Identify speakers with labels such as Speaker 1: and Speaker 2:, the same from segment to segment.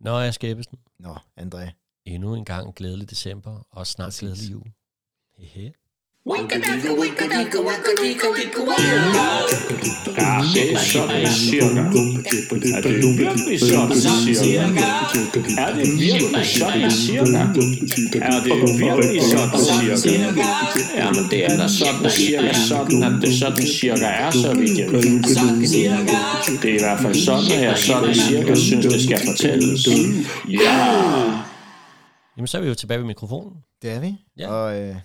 Speaker 1: Nå, jeg skal Ebbesen.
Speaker 2: Nå, André.
Speaker 1: Endnu en gang glædelig december, og snart glædelig jul. Hehe.
Speaker 3: Ah, Det er sådan cirka. Er det virkelig sådan cirka? Er det virkelig sådan cirka? Er det virkelig sådan cirka? Jamen det er da sådan cirka sådan, at det sådan cirka er, så vidt jeg ved. Det er i hvert fald sådan, at jeg sådan cirka synes, det skal fortælles. Ja!
Speaker 1: Jamen, så er vi jo tilbage ved mikrofonen.
Speaker 2: Det er vi.
Speaker 1: Ja.
Speaker 2: Og, øh,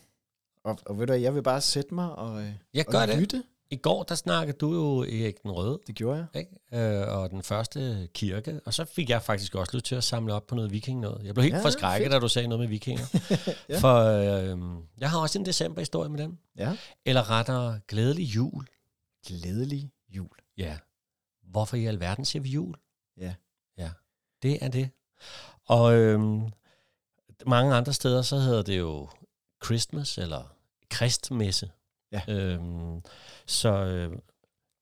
Speaker 2: og, og ved du hvad, jeg vil bare sætte mig og, øh,
Speaker 1: Jeg gør
Speaker 2: og
Speaker 1: det.
Speaker 2: lytte.
Speaker 1: I går, der snakkede du jo Erik den Røde,
Speaker 2: Det gjorde jeg.
Speaker 1: ikke? Øh, og den første kirke. Og så fik jeg faktisk også lyst til at samle op på noget viking noget. Jeg blev helt
Speaker 2: Ja,
Speaker 1: ja, forskrækket, da du sagde noget med vikinger.
Speaker 2: Ja.
Speaker 1: ja. For øh, jeg har også en decemberhistorie med dem.
Speaker 2: Ja.
Speaker 1: Eller rettere, glædelig jul.
Speaker 2: Glædelig jul.
Speaker 1: Ja. Hvorfor i alverden siger vi jul?
Speaker 2: Ja.
Speaker 1: Ja, det er det. Og øhm, mange andre steder, så hedder det jo Christmas eller kristmesse.
Speaker 2: Ja.
Speaker 1: Øhm, så øh,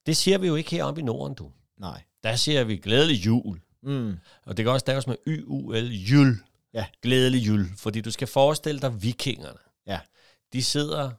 Speaker 1: det siger vi jo ikke heroppe i Norden, du.
Speaker 2: Nej.
Speaker 1: Der siger vi glædelig jul.
Speaker 2: Mm.
Speaker 1: Og det kan også staves med Y-U-L, jul.
Speaker 2: Ja.
Speaker 1: Glædelig jul. Fordi du skal forestille dig vikingerne.
Speaker 2: Ja.
Speaker 1: De sidder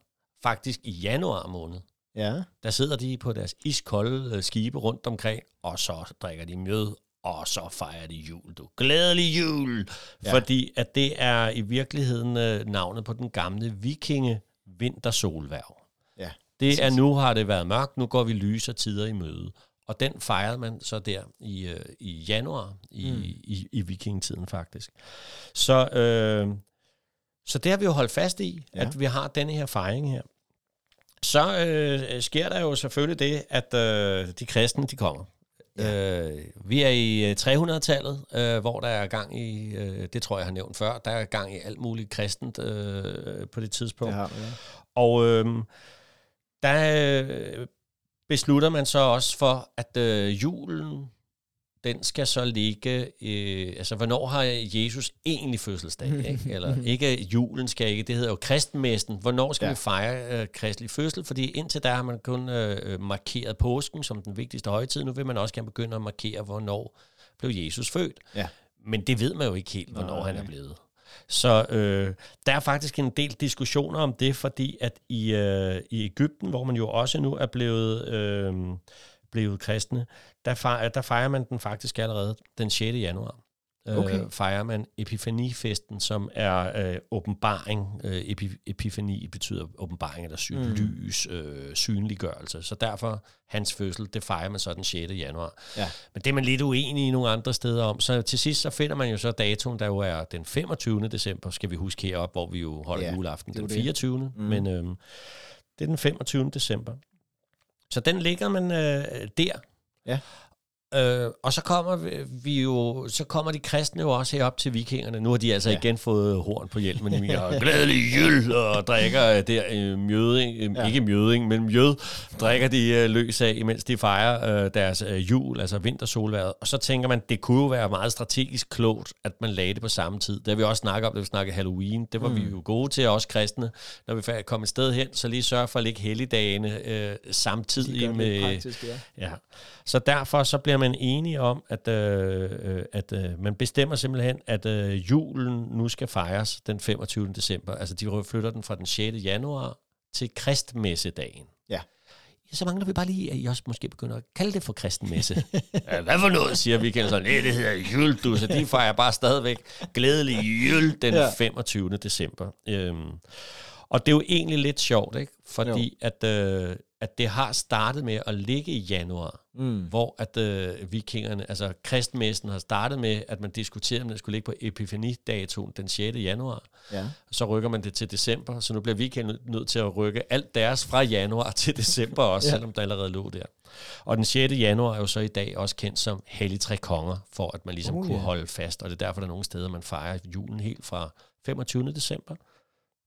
Speaker 1: faktisk i januar måned.
Speaker 2: Ja.
Speaker 1: Der sidder de på deres iskolde øh, skibe rundt omkring, og så drikker de mjød, og så fejrer de jul. Du glædelig jul!
Speaker 2: Ja.
Speaker 1: Ja. Fordi at det er i virkeligheden øh, navnet på den gamle vikinge vintersolværv.
Speaker 2: Ja,
Speaker 1: Det er
Speaker 2: præcis.
Speaker 1: nu har det været mørkt, nu går vi lyser tider i møde. Og den fejrede man så der i, øh, i januar, i,
Speaker 2: Mm.
Speaker 1: mm. i, i vikingetiden faktisk. Så, øh, så det har vi jo holdt fast i,
Speaker 2: Ja.
Speaker 1: ja. at vi har denne her fejring her. Så øh, sker der jo selvfølgelig det, at øh, de kristne, de kommer. Ja. Øh, vi er i øh, 300-tallet, øh, hvor der er gang i, øh, det tror jeg, jeg har nævnt før, der er gang i alt muligt kristent øh, på det tidspunkt.
Speaker 2: Det har vi. ja.
Speaker 1: Og øhm, der øh, beslutter man så også for, at øh, julen, den skal så ligge... Øh, altså, hvornår har Jesus egentlig fødselsdag?
Speaker 2: Mhm.
Speaker 1: Ikke? Eller ikke julen skal ikke, det hedder jo kristenmessen. Hvornår skal
Speaker 2: Ja.
Speaker 1: ja. vi fejre øh, kristelig fødsel? Fordi indtil der har man kun øh, øh, markeret påsken som den vigtigste højtid. Nu vil man også gerne begynde at markere, hvornår blev Jesus født.
Speaker 2: Ja.
Speaker 1: Men det ved man jo ikke helt, hvornår
Speaker 2: Nej.
Speaker 1: han er blevet. Så øh, der er faktisk en del diskussioner om det, fordi at i, øh, i Ægypten, hvor man jo også nu er blevet, øh, blevet kristne, der, fejrer, der fejrer man den faktisk allerede den 6. januar.
Speaker 2: Okay.
Speaker 1: Øh, fejrer man epifanifesten, som er øh, åbenbaring. Øh, epi, epifani betyder åbenbaring eller syn,
Speaker 2: Mm.
Speaker 1: mm. lys, øh, synliggørelse. Så derfor hans fødsel, det fejrer man så den 6. januar.
Speaker 2: Ja.
Speaker 1: Men det er man lidt uenig i nogle andre steder om. Så til sidst så finder man jo så datoen, der jo er den 25. december, skal vi huske heroppe, hvor vi jo holder
Speaker 2: Ja,
Speaker 1: ja, juleaften
Speaker 2: det er
Speaker 1: den
Speaker 2: jo det.
Speaker 1: 24.
Speaker 2: Mm.
Speaker 1: Mm. Men øhm, det er den 25. december. Så den ligger man øh, der.
Speaker 2: Ja.
Speaker 1: Øh, og så kommer vi- vi jo, så kommer de kristne jo også herop til vikingerne. Nu har de altså
Speaker 2: Ja.
Speaker 1: ja. igen fået horn på hjelmen. De mener, glædelig jul, og drikker øh, der øh, mjøding, øh,
Speaker 2: Ja.
Speaker 1: ja. ikke mjøding, men mjød, drikker de øh, løs af, imens de fejrer øh, deres øh, jul, altså vintersolværet. Og så tænker man, det kunne jo være meget strategisk klogt, at man lagde det på samme tid. Det har vi også snakket om, da vi snakkede Halloween. Det var mm. vi jo gode til, også kristne. Når vi fa- kom et sted hen, så lige sørge for at lægge helligdagene øh,
Speaker 2: De gør
Speaker 1: samtidig
Speaker 2: det
Speaker 1: med...
Speaker 2: praktisk, ja.
Speaker 1: Ja. Så derfor så bliver man enige om, at, øh, øh, at øh, man bestemmer simpelthen, at øh, julen nu skal fejres den 25. december. Altså de flytter den fra den 6. januar til kristmessedagen.
Speaker 2: Ja.
Speaker 1: Ja, så mangler vi bare lige, at I også måske begynder at kalde det for kristenmesse. ja, hvad for noget, siger vi så. Nej, det hedder jul, du. Så de fejrer bare stadigvæk glædelig jul den
Speaker 2: Ja.
Speaker 1: ja. 25. december. Øhm, og det er jo egentlig lidt sjovt, ikke? Fordi at, øh, at det har startet med at ligge i januar
Speaker 2: Mm.
Speaker 1: hvor at øh, vikingerne, altså kristmessen har startet med, at man diskuterede, om den skulle ligge på epifanidatoen den 6. januar.
Speaker 2: Ja.
Speaker 1: Så rykker man det til december, så nu bliver vikingerne nødt til at rykke alt deres fra januar til december også,
Speaker 2: Ja.
Speaker 1: ja. selvom der allerede lå der. Og den 6. januar er jo så i dag også kendt som Hellig Tre Konger, for at man ligesom
Speaker 2: Uh,
Speaker 1: uh, kunne
Speaker 2: ja.
Speaker 1: holde fast, og det er derfor, der er nogle steder, man fejrer julen helt fra 25. december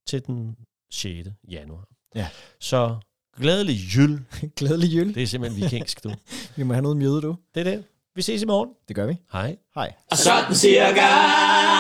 Speaker 1: til den 6. januar.
Speaker 2: Ja.
Speaker 1: Så glædelig jul,
Speaker 2: Glædelig jul.
Speaker 1: det er simpelthen vikingsk, du.
Speaker 2: Vi må have noget mjøde, du.
Speaker 1: Det er det. Vi ses i morgen.
Speaker 2: Det gør vi.
Speaker 1: Hej.
Speaker 2: Hej.
Speaker 3: Sådan cirka.